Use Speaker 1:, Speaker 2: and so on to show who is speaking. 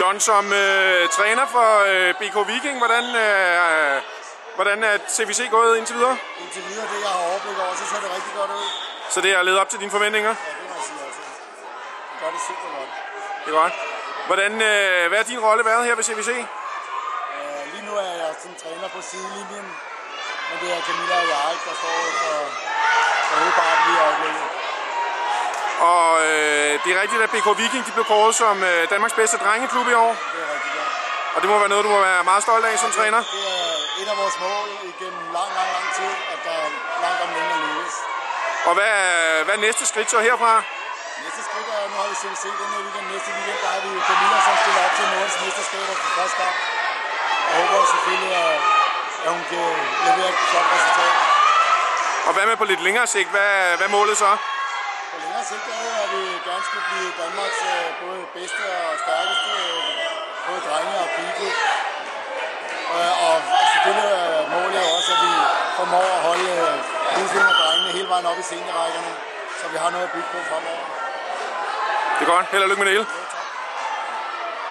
Speaker 1: John, som øh, træner for øh, BK Viking, hvordan, øh, hvordan er CVC gået indtil videre?
Speaker 2: Indtil videre det, jeg har overblik over, så ser det rigtig godt ud.
Speaker 1: Så det har levet op til dine forventninger?
Speaker 2: Ja, det må jeg sige altså. Det gør det super godt.
Speaker 1: Det er godt. Hvordan, øh, hvad har din rolle været her ved CVC?
Speaker 2: Øh, lige nu er jeg sådan træner på sidelinjen, men det er Camilla og jeg, der står for, for hovedparten lige i øjeblikket.
Speaker 1: Og øh, det er rigtigt, at BK Viking de blev kåret som øh, Danmarks bedste drengeklub i år.
Speaker 2: Det er rigtig godt.
Speaker 1: Og det må være noget, du må være meget stolt af som træner.
Speaker 2: Det er et af vores mål igennem lang, lang, lang tid, at der langt om længe er lykkes.
Speaker 1: Og hvad, er- hvad er næste skridt så herfra?
Speaker 2: Næste skridt er, nu har vi CVC den her weekend. Næste weekend, der er vi jo Camilla, som stiller op til Nordens mesterskaber for første gang. Jeg håber selvfølgelig, at, at hun kan levere et godt resultat.
Speaker 1: Og hvad med på lidt længere sigt? Hvad, hvad er målet så?
Speaker 2: På længere sigt er det, at vi gerne skulle blive Danmarks øh, både bedste og stærkeste, øh, både drenge og pige. Øh, Og selvfølgelig er målet jo også, at vi formår at holde udfindende drengene hele vejen op i seniorrækkerne, så vi har noget at bygge på fremover.
Speaker 1: Det er godt. Held og lykke med det hele.